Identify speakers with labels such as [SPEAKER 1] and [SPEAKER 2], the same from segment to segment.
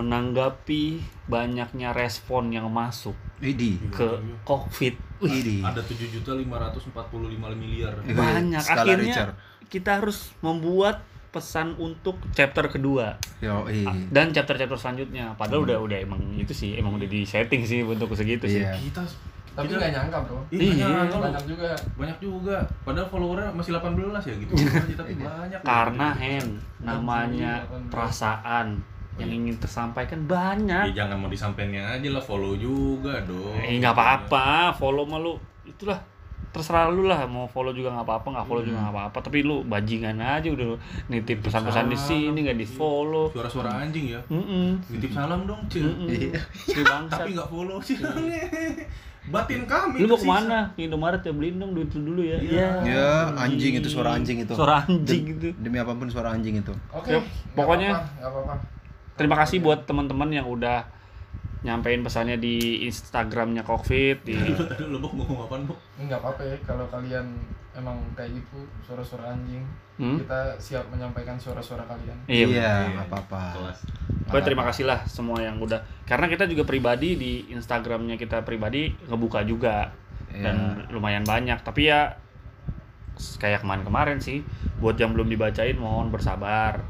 [SPEAKER 1] menanggapi banyaknya respon yang masuk
[SPEAKER 2] Idi.
[SPEAKER 1] ke COVID. Wih,
[SPEAKER 2] Idi.
[SPEAKER 3] Ada 7 juta 545 miliar.
[SPEAKER 2] Iya.
[SPEAKER 1] banyak
[SPEAKER 2] Skala
[SPEAKER 1] akhirnya
[SPEAKER 2] Richard.
[SPEAKER 1] kita harus membuat pesan untuk chapter kedua
[SPEAKER 2] Yo, iya.
[SPEAKER 1] dan chapter-chapter selanjutnya. Padahal udah udah emang itu sih emang udah di setting sih bentuk segitu sih.
[SPEAKER 2] Iya.
[SPEAKER 3] Kita
[SPEAKER 4] Tapi
[SPEAKER 3] Kita-
[SPEAKER 4] nggak nyangka bro.
[SPEAKER 3] Ih,
[SPEAKER 1] Iya.
[SPEAKER 3] banyak,
[SPEAKER 4] Banyak
[SPEAKER 3] banyak,
[SPEAKER 4] juga.
[SPEAKER 3] banyak juga. Padahal followernya masih 18 ya gitu. Tapi
[SPEAKER 1] Iya.
[SPEAKER 3] banyak. Iya.
[SPEAKER 1] Karena ya. Hen namanya perasaan yang ingin tersampaikan banyak.
[SPEAKER 3] Ya jangan mau disampaikan aja lah follow juga dong.
[SPEAKER 1] Eh nggak apa-apa, follow mah lu itulah terserah lu lah mau follow juga nggak apa-apa nggak follow juga nggak apa-apa tapi lu bajingan aja udah nitip pesan-pesan di sini nggak di follow
[SPEAKER 3] Suara-suara anjing ya.
[SPEAKER 1] Mm-mm.
[SPEAKER 3] Titip salam dong, Cil.
[SPEAKER 2] Iya.
[SPEAKER 1] Mm-mm. Si bangsat.
[SPEAKER 3] Tapi nggak follow sih. Batin
[SPEAKER 1] hmm.
[SPEAKER 3] kami.
[SPEAKER 1] Iya. Lu mau
[SPEAKER 3] tersisa.
[SPEAKER 1] kemana? Ke Indomaret ya beliin dong duit lu dulu ya.
[SPEAKER 3] Iya.
[SPEAKER 2] Ya, anjing itu suara anjing itu.
[SPEAKER 1] Suara anjing itu.
[SPEAKER 2] Demi apapun suara anjing itu.
[SPEAKER 4] Oke.
[SPEAKER 1] Yep,
[SPEAKER 4] nggak
[SPEAKER 1] pokoknya-
[SPEAKER 4] apa-apa, nggak apa-apa.
[SPEAKER 1] Terima kasih buat teman-teman yang udah nyampein pesannya di Instagramnya Covid di
[SPEAKER 2] Iya.
[SPEAKER 3] Tadi lu Bok, mau ngomong apaan, Bok?
[SPEAKER 4] Ini nggak apa-apa ya kalau kalian emang kayak gitu suara-suara anjing.
[SPEAKER 1] Hmm?
[SPEAKER 4] Kita siap menyampaikan suara-suara kalian.
[SPEAKER 1] Iya.
[SPEAKER 2] Iya,
[SPEAKER 3] Iya.
[SPEAKER 2] nggak apa-apa.
[SPEAKER 3] Kelas.
[SPEAKER 1] Pokoknya terima kasih lah semua yang udah karena kita juga pribadi di Instagramnya kita pribadi ngebuka juga
[SPEAKER 2] Iya.
[SPEAKER 1] dan
[SPEAKER 3] Iya.
[SPEAKER 1] lumayan banyak tapi ya kayak kemarin-kemarin sih buat yang belum dibacain mohon bersabar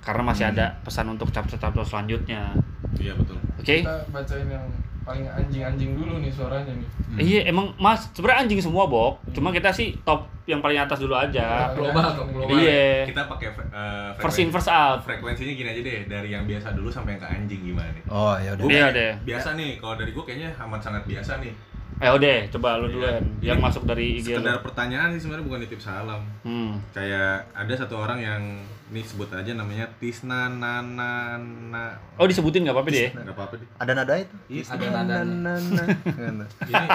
[SPEAKER 1] karena masih
[SPEAKER 3] Hmm.
[SPEAKER 1] ada pesan untuk chapter-chapter selanjutnya.
[SPEAKER 3] Iya, betul.
[SPEAKER 1] Oke?
[SPEAKER 4] Kita bacain yang paling anjing-anjing dulu nih suaranya nih.
[SPEAKER 2] Hmm.
[SPEAKER 1] Iya emang mas sebenarnya anjing semua bok.
[SPEAKER 3] Hmm.
[SPEAKER 1] Cuma kita sih top yang paling atas dulu aja.
[SPEAKER 4] Paling
[SPEAKER 3] global,
[SPEAKER 4] anjing.
[SPEAKER 3] global.
[SPEAKER 1] Iya.
[SPEAKER 3] ya. Kita pakai eh,
[SPEAKER 1] First in
[SPEAKER 3] frekuensi-
[SPEAKER 1] first out.
[SPEAKER 3] Frekuensinya gini aja deh, dari yang biasa dulu sampai yang ke anjing gimana nih?
[SPEAKER 2] Oh, ya udah.
[SPEAKER 3] Gua
[SPEAKER 1] Iya
[SPEAKER 3] kayak-
[SPEAKER 1] deh.
[SPEAKER 3] Biasa nih, kalau dari gue kayaknya amat sangat biasa nih.
[SPEAKER 1] Ayo deh Eh, coba lu
[SPEAKER 3] Iya.
[SPEAKER 1] duluan yang
[SPEAKER 3] Ini
[SPEAKER 1] masuk dari IG lu.
[SPEAKER 3] Sekedar pertanyaan sih sebenarnya bukan nitip salam.
[SPEAKER 1] Hmm.
[SPEAKER 3] Kayak ada satu orang yang nih sebut aja namanya Tisna Nana Nana.
[SPEAKER 1] Oh disebutin nggak apa-apa deh.
[SPEAKER 3] Nggak apa-apa deh.
[SPEAKER 2] Iya, Ada nada itu.
[SPEAKER 3] Tisna.
[SPEAKER 4] Ada nadanya.
[SPEAKER 2] Na, na, na.
[SPEAKER 3] Ini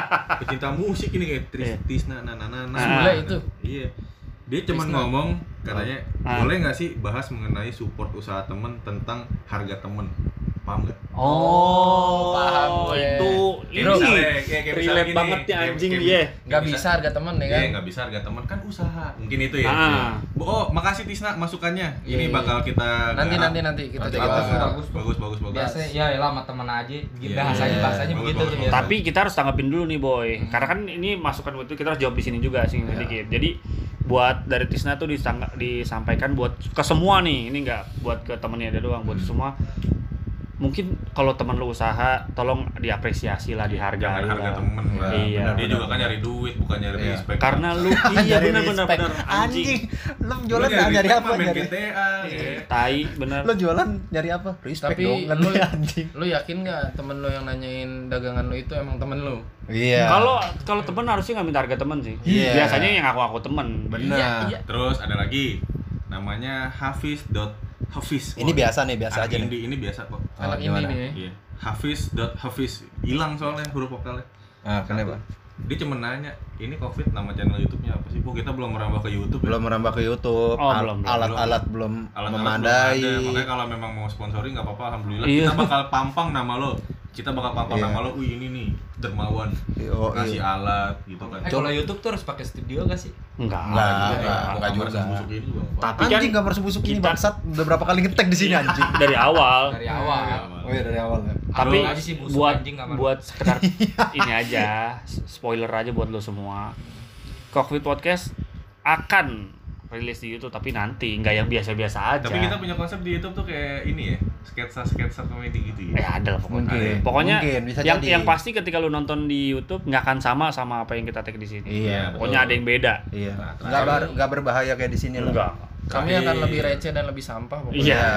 [SPEAKER 3] pecinta musik ini kayak Tris,
[SPEAKER 1] Iya.
[SPEAKER 3] Tisna Nana Nana.
[SPEAKER 1] Sebelah
[SPEAKER 4] itu.
[SPEAKER 3] Iya. Dia cuman
[SPEAKER 4] Tisna.
[SPEAKER 3] ngomong katanya
[SPEAKER 1] Ah.
[SPEAKER 3] boleh nggak sih bahas mengenai support usaha temen tentang harga temen paham nggak?
[SPEAKER 1] Oh,
[SPEAKER 4] Oh, paham gue.
[SPEAKER 1] itu ini
[SPEAKER 3] Kayak misalnya- kayak- kayak misalnya
[SPEAKER 1] relate
[SPEAKER 3] gini,
[SPEAKER 1] banget nih
[SPEAKER 3] kayak-
[SPEAKER 1] anjing iya.
[SPEAKER 3] kayak-
[SPEAKER 1] dia.
[SPEAKER 4] Nggak bisa harga teman ya
[SPEAKER 3] Iya
[SPEAKER 4] kan?
[SPEAKER 3] nggak bisa harga teman kan usaha mungkin itu ya.
[SPEAKER 1] Ah.
[SPEAKER 3] Bo- Oh makasih Tisna masukannya.
[SPEAKER 4] Iya,
[SPEAKER 3] Ini
[SPEAKER 4] iya.
[SPEAKER 3] bakal kita
[SPEAKER 4] Nanti
[SPEAKER 3] garap.
[SPEAKER 4] nanti nanti kita
[SPEAKER 3] Nanti
[SPEAKER 4] coba.
[SPEAKER 3] kita garap. bagus
[SPEAKER 4] Bagus.
[SPEAKER 3] bagus bagus.
[SPEAKER 4] Biasanya
[SPEAKER 5] biasanya ya lah sama temen aja
[SPEAKER 3] Iya,
[SPEAKER 5] gitu bahasanya
[SPEAKER 3] iya.
[SPEAKER 5] bahasanya
[SPEAKER 3] Bagus, bagus,
[SPEAKER 5] begitu tuh ya.
[SPEAKER 3] bagus.
[SPEAKER 5] biasanya.
[SPEAKER 1] Tapi kita harus tanggapin dulu nih boy,
[SPEAKER 2] Hmm.
[SPEAKER 1] karena kan ini masukan buat itu kita harus jawab di sini juga sih
[SPEAKER 2] Iya.
[SPEAKER 1] sedikit. Jadi buat dari Tisna tuh disangka- disampaikan buat ke semua nih, ini nggak buat ke temennya ada doang, buat
[SPEAKER 2] Hmm.
[SPEAKER 1] semua. Mungkin kalau teman lu usaha, tolong diapresiasi lah, dihargai
[SPEAKER 3] Jangan harga
[SPEAKER 1] lah.
[SPEAKER 3] temen lah.
[SPEAKER 1] Iya.
[SPEAKER 3] Dia juga kan nyari duit bukan nyari
[SPEAKER 2] Iya.
[SPEAKER 3] respect.
[SPEAKER 1] Karena lu iya
[SPEAKER 2] Dari
[SPEAKER 1] benar-benar
[SPEAKER 2] Kan respect.
[SPEAKER 1] benar anjing.
[SPEAKER 2] Lu
[SPEAKER 3] Lu
[SPEAKER 2] jualan nyari,
[SPEAKER 3] respect
[SPEAKER 2] apa?
[SPEAKER 3] mah main
[SPEAKER 2] Nyari.
[SPEAKER 3] GTA. iya.
[SPEAKER 1] Tai benar.
[SPEAKER 2] Lu jualan nyari apa? Respect
[SPEAKER 4] Tapi
[SPEAKER 2] dong.
[SPEAKER 4] lu,
[SPEAKER 2] Lu anjing.
[SPEAKER 4] lu yakin nggak temen lu yang nanyain dagangan lu itu emang temen lu?
[SPEAKER 2] Iya.
[SPEAKER 1] Kalau kalau temen harusnya nggak minta harga temen sih.
[SPEAKER 2] Iya.
[SPEAKER 1] Biasanya yang aku aku temen.
[SPEAKER 5] Iya,
[SPEAKER 1] iya.
[SPEAKER 2] benar.
[SPEAKER 3] Terus ada lagi namanya Hafiz dot Hafiz.
[SPEAKER 2] Ini biasa nih, biasa aja nih.
[SPEAKER 3] Ini, ini biasa kok.
[SPEAKER 2] Oh,
[SPEAKER 4] Anak ini
[SPEAKER 2] gimana?
[SPEAKER 4] nih.
[SPEAKER 5] Eh,
[SPEAKER 4] ya.
[SPEAKER 3] Iya. Hafiz dot Hafiz hilang soalnya huruf vokalnya.
[SPEAKER 2] Ah, kenapa?
[SPEAKER 3] Dia cuma nanya, ini COVID nama channel YouTube-nya apa sih? Oh kita belum merambah ke YouTube ya.
[SPEAKER 2] Belum merambah ke YouTube.
[SPEAKER 1] Oh,
[SPEAKER 2] al-
[SPEAKER 1] belum, belum,
[SPEAKER 2] Alat-alat belum
[SPEAKER 3] Alat-alat belum
[SPEAKER 2] memadai.
[SPEAKER 3] ada. Makanya kalau memang mau sponsori nggak apa-apa, alhamdulillah.
[SPEAKER 1] Iya.
[SPEAKER 3] Kita bakal pampang nama lo. Kita bakal pampang
[SPEAKER 2] Iya.
[SPEAKER 3] nama lo. Wih ini nih dermawan.
[SPEAKER 2] Yo,
[SPEAKER 3] Kasih
[SPEAKER 2] iya.
[SPEAKER 3] alat gitu kan.
[SPEAKER 5] eh, kalau YouTube tuh harus pakai studio gak sih?
[SPEAKER 1] Enggak.
[SPEAKER 2] Enggak,
[SPEAKER 3] Iya,
[SPEAKER 2] enggak,
[SPEAKER 3] kamar
[SPEAKER 2] enggak juga.
[SPEAKER 3] sebusuk ini juga nggak apa-apa.
[SPEAKER 1] Tapi kan
[SPEAKER 2] Anjing kamar sebusuk ini
[SPEAKER 1] kita-
[SPEAKER 2] bangsat udah berapa kali ngetek di sini anjing.
[SPEAKER 1] dari awal.
[SPEAKER 5] Dari
[SPEAKER 4] Hmm.
[SPEAKER 5] awal.
[SPEAKER 2] Oh iya dari awal ya.
[SPEAKER 1] tapi
[SPEAKER 5] Aduh, aja sih busuk
[SPEAKER 1] buat
[SPEAKER 5] anjing kamar.
[SPEAKER 1] buat sekedar ini aja spoiler aja buat lo semua Cockpit Podcast akan rilis di YouTube tapi nanti nggak yang biasa-biasa aja
[SPEAKER 3] Tapi kita punya konsep di YouTube tuh kayak ini ya, sketsa-sketsa komedi gitu ya.
[SPEAKER 1] eh ada lah pokoknya
[SPEAKER 2] Mungkin.
[SPEAKER 1] pokoknya
[SPEAKER 2] Mungkin, bisa
[SPEAKER 1] yang
[SPEAKER 2] jadi.
[SPEAKER 1] yang pasti ketika lu nonton di YouTube nggak akan sama sama apa yang kita take di sini
[SPEAKER 2] Iya.
[SPEAKER 3] betul.
[SPEAKER 1] pokoknya ada yang beda
[SPEAKER 2] Iya.
[SPEAKER 3] Nah,
[SPEAKER 2] Enggak ber, enggak berbahaya kayak di sini
[SPEAKER 1] enggak
[SPEAKER 2] lah. Oh,
[SPEAKER 4] Kami
[SPEAKER 3] Terakhir.
[SPEAKER 4] akan lebih receh dan lebih sampah pokoknya.
[SPEAKER 1] iya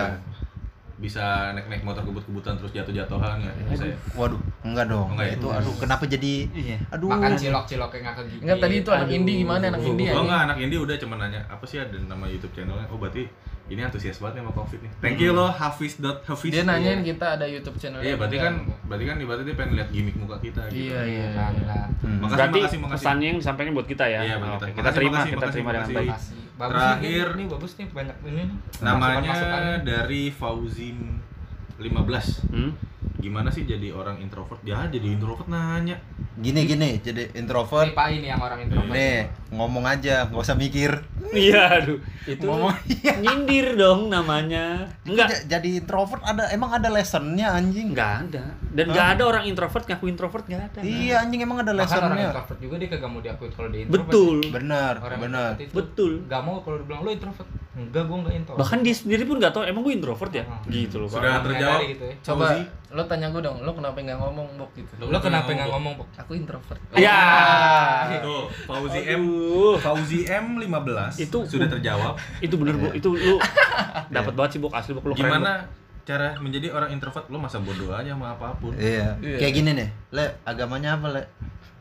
[SPEAKER 3] Bisa naik-naik motor kebut-kebutan terus jatuh-jatuhan ya. Bisa ya.
[SPEAKER 2] Waduh, enggak dong.
[SPEAKER 3] Enggak ya?
[SPEAKER 2] itu aduh kenapa jadi
[SPEAKER 1] Iya.
[SPEAKER 2] aduh.
[SPEAKER 5] Makan cilok-ciloknya nggak kegigit.
[SPEAKER 4] Enggak tadi itu anak
[SPEAKER 1] Aduh.
[SPEAKER 4] indie gimana
[SPEAKER 5] iya,
[SPEAKER 4] anak
[SPEAKER 3] Gue
[SPEAKER 4] indie ya?
[SPEAKER 3] enggak anak indie udah cuma nanya apa sih ada nama YouTube channelnya. Oh berarti ini antusias banget nih sama Covid nih. Thank you lo Hafiz dot Hafiz.
[SPEAKER 4] Dia nanyain kita ada YouTube channel.
[SPEAKER 3] Iya berarti kan berarti kan ibaratnya dia pengen lihat gimmick muka kita gitu.
[SPEAKER 4] Iya iya.
[SPEAKER 5] Kan lah.
[SPEAKER 2] Hmm.
[SPEAKER 3] Makasih
[SPEAKER 1] berarti
[SPEAKER 3] makasih makasih.
[SPEAKER 1] pesannya yang disampaikan buat kita ya
[SPEAKER 3] Iya,
[SPEAKER 1] Oh,
[SPEAKER 3] buat kita.
[SPEAKER 1] oke.
[SPEAKER 3] Makasih,
[SPEAKER 1] terima
[SPEAKER 3] makasih,
[SPEAKER 1] kita terima
[SPEAKER 3] makasih,
[SPEAKER 1] dengan baik
[SPEAKER 5] Makasih. Bagus
[SPEAKER 3] Terakhir.
[SPEAKER 5] nih, ini bagus nih banyak ini.
[SPEAKER 3] Namanya
[SPEAKER 5] Masukan-masukannya.
[SPEAKER 3] dari Fauzim 15
[SPEAKER 1] Hmm?
[SPEAKER 3] Gimana sih jadi orang introvert? Ya jadi introvert nanya
[SPEAKER 2] Gini gini jadi
[SPEAKER 5] Ini
[SPEAKER 2] introvert.
[SPEAKER 5] Pak ini yang orang introvert.
[SPEAKER 2] Nih, ngomong aja, nggak usah mikir.
[SPEAKER 1] Iya, aduh. Itu
[SPEAKER 2] Ngomong-
[SPEAKER 1] nyindir dong namanya. Enggak,
[SPEAKER 2] Ja- jadi introvert ada emang ada lessonnya anjing
[SPEAKER 1] enggak ada. Dan enggak ada orang introvert ngaku introvert enggak ada.
[SPEAKER 2] iya anjing emang ada
[SPEAKER 5] Bahkan orang
[SPEAKER 2] lessonnya
[SPEAKER 5] introvert juga dia kagak mau diakui kalau dia introvert. ya?
[SPEAKER 1] Betul.
[SPEAKER 2] bener
[SPEAKER 5] Orang
[SPEAKER 2] bener
[SPEAKER 5] introvert itu
[SPEAKER 1] Betul.
[SPEAKER 5] Gak mau kalau dibilang lo introvert. Enggak, gua enggak introvert.
[SPEAKER 1] Bahkan dia sendiri pun nggak tahu emang gue introvert ya.
[SPEAKER 5] Hmm.
[SPEAKER 1] Gitu loh. Pak.
[SPEAKER 3] Sudah terjawab.
[SPEAKER 5] Menyadari gitu ya.
[SPEAKER 4] Coba
[SPEAKER 3] Fauzi?
[SPEAKER 4] lo tanya gue dong, lo kenapa nggak ngomong bok gitu?
[SPEAKER 5] Lo kenapa nggak ngomong, Pok?
[SPEAKER 4] Aku introvert.
[SPEAKER 2] Eh.
[SPEAKER 1] Ya.
[SPEAKER 3] Tuh, Fauzi M
[SPEAKER 1] Aduh.
[SPEAKER 3] Fauzi M15
[SPEAKER 1] Itu-
[SPEAKER 3] sudah terjawab.
[SPEAKER 1] Itu bener, Bu. Itu lu dapat banget sih, Bok. Asli, Bok. Lu keren, Bok.
[SPEAKER 3] Gimana cara menjadi orang introvert? Lo masa bodoh aja sama apapun.
[SPEAKER 2] iya
[SPEAKER 4] Iya.
[SPEAKER 2] kayak gini nih le agamanya apa le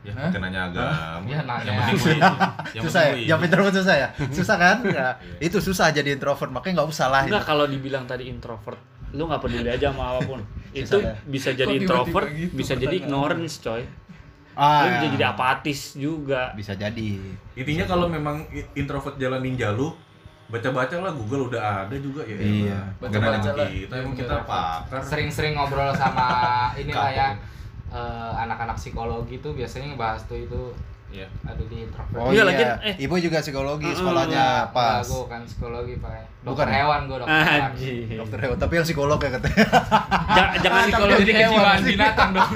[SPEAKER 3] Ya,
[SPEAKER 4] Hah?
[SPEAKER 3] pakai nanya agama.
[SPEAKER 5] Ya, nanya.
[SPEAKER 3] Yang penting gue. Yang
[SPEAKER 2] susah
[SPEAKER 3] penting
[SPEAKER 2] ya jawab
[SPEAKER 3] gue.
[SPEAKER 2] introvert susah ya susah kan Ya. itu susah jadi introvert makanya nggak usah lah
[SPEAKER 1] Enggak kalau dibilang tadi introvert, lu nggak peduli aja sama apapun. Itu
[SPEAKER 2] Susah ya.
[SPEAKER 1] bisa jadi
[SPEAKER 4] Kok tiba-tiba
[SPEAKER 1] introvert,
[SPEAKER 4] gitu
[SPEAKER 1] bisa jadi
[SPEAKER 4] pertanyaan?
[SPEAKER 1] ignorance, coy.
[SPEAKER 2] ah,
[SPEAKER 1] Lu bisa jadi apatis juga.
[SPEAKER 2] bisa jadi
[SPEAKER 3] Intinya kalau memang i- introvert jalan ninja lu, baca-baca lah Google udah ada juga ya.
[SPEAKER 2] Iya.
[SPEAKER 3] elah.
[SPEAKER 4] Baca-baca
[SPEAKER 3] Bukan emang
[SPEAKER 4] lah.
[SPEAKER 3] Kita emang
[SPEAKER 4] Iya,
[SPEAKER 3] kita
[SPEAKER 4] bener.
[SPEAKER 3] pakar.
[SPEAKER 5] Sering-sering ngobrol sama inilah ya.
[SPEAKER 3] Kapok.
[SPEAKER 5] eh, anak-anak psikologi tuh biasanya ngebahas tuh itu
[SPEAKER 3] Iya.
[SPEAKER 5] aduh dia introvert.
[SPEAKER 2] oh
[SPEAKER 1] Iya,
[SPEAKER 2] iya,
[SPEAKER 1] lagian, eh.
[SPEAKER 2] ibu juga psikologi
[SPEAKER 1] Mm-mm.
[SPEAKER 2] sekolahnya pas
[SPEAKER 5] Gue kan psikologi pakai.
[SPEAKER 2] Bukan
[SPEAKER 5] Dokter
[SPEAKER 2] ya?
[SPEAKER 5] hewan gue dokter. hewan.
[SPEAKER 1] Anjing.
[SPEAKER 2] dokter hewan tapi yang psikolog ya katanya
[SPEAKER 1] Ja- jangan
[SPEAKER 4] Kalau
[SPEAKER 1] psikologi.
[SPEAKER 4] jadi
[SPEAKER 2] Iya,
[SPEAKER 4] hewan.
[SPEAKER 5] binatang dong.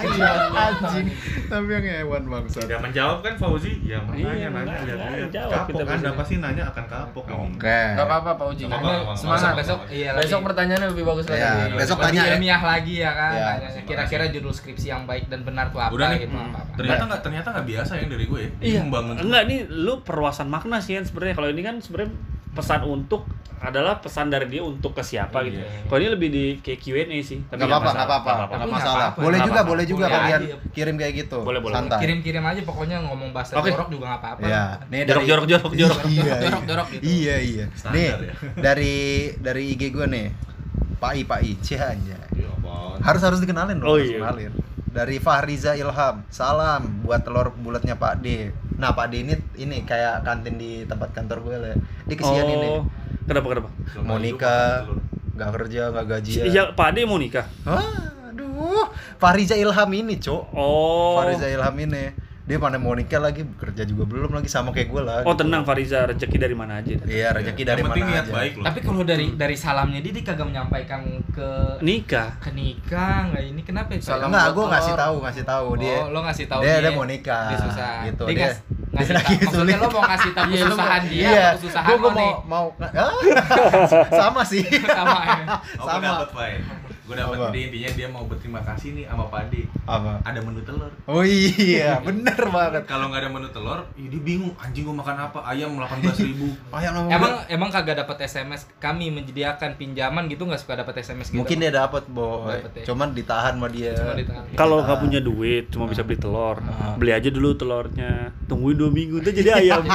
[SPEAKER 2] anjing tapi yang hewan bangsa
[SPEAKER 3] Tidak menjawab kan Fauzi? Ya
[SPEAKER 1] Iya,
[SPEAKER 3] makanya nanya
[SPEAKER 1] makanya
[SPEAKER 3] lihat-lihat.
[SPEAKER 1] jawab
[SPEAKER 3] Kapok
[SPEAKER 1] kita
[SPEAKER 3] kan
[SPEAKER 1] biasanya.
[SPEAKER 3] Anda pasti nanya akan kapok ini.
[SPEAKER 2] oke
[SPEAKER 4] Gak apa-apa Pak Uji.
[SPEAKER 3] Nggak
[SPEAKER 4] Karena
[SPEAKER 3] apa-apa, nggak
[SPEAKER 4] Semangat
[SPEAKER 3] apa-apa.
[SPEAKER 4] besok.
[SPEAKER 5] besok iya
[SPEAKER 4] Besok
[SPEAKER 5] lebih-
[SPEAKER 4] pertanyaannya lebih bagus lagi.
[SPEAKER 2] Iya, besok
[SPEAKER 5] lebih
[SPEAKER 2] tanya ya.
[SPEAKER 5] ilmiah lagi ya kan.
[SPEAKER 2] Iya,
[SPEAKER 5] Tanya, Kira-kira judul skripsi yang baik dan benar tuh apa
[SPEAKER 3] Udah nih.
[SPEAKER 5] gitu apa apa.
[SPEAKER 3] Ternyata nggak ternyata nggak biasa yang dari gue ya. Ini
[SPEAKER 1] Iya.
[SPEAKER 3] Membangun.
[SPEAKER 1] Enggak nih lu perluasan makna sih kan sebenarnya. Kalau ini kan sebenarnya pesan untuk adalah pesan dari dia untuk ke siapa gitu.
[SPEAKER 5] Iya.
[SPEAKER 1] Kalau ini lebih di kayak Q&A sih. tapi
[SPEAKER 2] nggak apa-apa
[SPEAKER 1] masalah.
[SPEAKER 2] nggak apa-apa
[SPEAKER 1] Nggak
[SPEAKER 2] nggak masalah
[SPEAKER 5] Tapi nggak apa-apa,
[SPEAKER 2] boleh
[SPEAKER 1] nggak
[SPEAKER 2] juga
[SPEAKER 1] apa-apa.
[SPEAKER 2] boleh juga
[SPEAKER 5] Boleh
[SPEAKER 2] kalian
[SPEAKER 5] aja.
[SPEAKER 2] kirim kayak gitu
[SPEAKER 1] Boleh, boleh.
[SPEAKER 2] santai
[SPEAKER 5] Kirim-kirim aja pokoknya ngomong bahasa
[SPEAKER 1] Oke.
[SPEAKER 5] jorok juga nggak apa-apa.
[SPEAKER 2] Ya, nih
[SPEAKER 1] Jorok,
[SPEAKER 2] dari
[SPEAKER 1] jorok, jorok, jorok.
[SPEAKER 2] Iya, iya.
[SPEAKER 5] Jorok, jorok gitu.
[SPEAKER 2] Iya, iya.
[SPEAKER 3] Standar
[SPEAKER 2] Nih,
[SPEAKER 3] ya.
[SPEAKER 2] dari dari IG gue nih. Pak I, Pak I, Cih, anjay.
[SPEAKER 3] Iya, apaan?
[SPEAKER 2] Harus harus dikenalin dong,
[SPEAKER 1] Oh,
[SPEAKER 2] harus
[SPEAKER 1] iya.
[SPEAKER 2] kenalin. Dari Fahriza Ilham. Salam buat telur bulatnya Pak D. Nah, Pak D ini ini kayak kantin di tempat kantor gue lah. Dia kesian ini.
[SPEAKER 1] Oh. Kenapa kenapa?
[SPEAKER 3] Selama
[SPEAKER 2] Mau
[SPEAKER 3] hidup gitu
[SPEAKER 2] nikah,
[SPEAKER 3] makan telur.
[SPEAKER 2] nggak kerja, nggak gajian.
[SPEAKER 1] Iya, Pak Ade mau nikah.
[SPEAKER 2] Wah, aduh. Fahriza Ilham ini, Cok.
[SPEAKER 1] Oh.
[SPEAKER 2] Fahriza Ilham ini. Dia pandai mau nikah lagi, kerja juga belum lagi sama kayak gue lah.
[SPEAKER 1] Oh
[SPEAKER 2] gitu.
[SPEAKER 1] tenang Fariza, rezeki dari mana aja.
[SPEAKER 2] Iya, rezeki dari
[SPEAKER 3] yang
[SPEAKER 2] mana
[SPEAKER 3] penting niat
[SPEAKER 2] aja.
[SPEAKER 3] baik loh.
[SPEAKER 5] Tapi kalau dari dari salamnya dia, dia kagak menyampaikan ke
[SPEAKER 1] Nikah.
[SPEAKER 5] ke nikah nggak ini kenapa ya?
[SPEAKER 4] Salam
[SPEAKER 2] Enggak, gue
[SPEAKER 4] kotor.
[SPEAKER 2] ngasih tahu, ngasih tahu dia.
[SPEAKER 5] oh, lo ngasih tahu
[SPEAKER 2] dia, dia mau nikah.
[SPEAKER 5] Dia susah.
[SPEAKER 2] Gitu.
[SPEAKER 5] Dia,
[SPEAKER 2] Dia,
[SPEAKER 5] ngas- ngasih
[SPEAKER 2] dia
[SPEAKER 5] tahu.
[SPEAKER 2] lagi
[SPEAKER 5] Maksudnya
[SPEAKER 2] sulit.
[SPEAKER 5] lo mau ngasih tahu
[SPEAKER 4] Iya, lo mau-
[SPEAKER 5] kesusahan dia,
[SPEAKER 2] iya.
[SPEAKER 5] atau kesusahan
[SPEAKER 2] Gua-
[SPEAKER 5] lo
[SPEAKER 2] gua
[SPEAKER 5] nih.
[SPEAKER 2] mau mau ah, sama sih.
[SPEAKER 5] Sama ya.
[SPEAKER 3] Oh,
[SPEAKER 2] Sama.
[SPEAKER 3] gue dapet, Pak. Gue dapet.
[SPEAKER 2] Apa?
[SPEAKER 3] Jadi intinya dia mau berterima kasih nih sama Pak Ade.
[SPEAKER 2] Apa?
[SPEAKER 3] Ada menu telur.
[SPEAKER 2] Oh iya, bener banget.
[SPEAKER 3] Kalau nggak ada menu telur, ya dia bingung. Anjing gue makan apa? Ayam 18.000 ribu.
[SPEAKER 5] Oh,
[SPEAKER 2] Ayam nomor
[SPEAKER 5] Emang emang kagak dapat SMS kami menyediakan pinjaman gitu nggak suka dapat SMS gitu.
[SPEAKER 2] mungkin dia dapat, boy.
[SPEAKER 5] Dapet ya.
[SPEAKER 2] Cuman ditahan sama dia.
[SPEAKER 5] Cuma ditahan.
[SPEAKER 1] Kalau
[SPEAKER 2] Ah.
[SPEAKER 1] nggak punya duit, cuma bisa beli telur. Beli aja dulu telurnya. Tungguin dua minggu, tuh jadi ayam.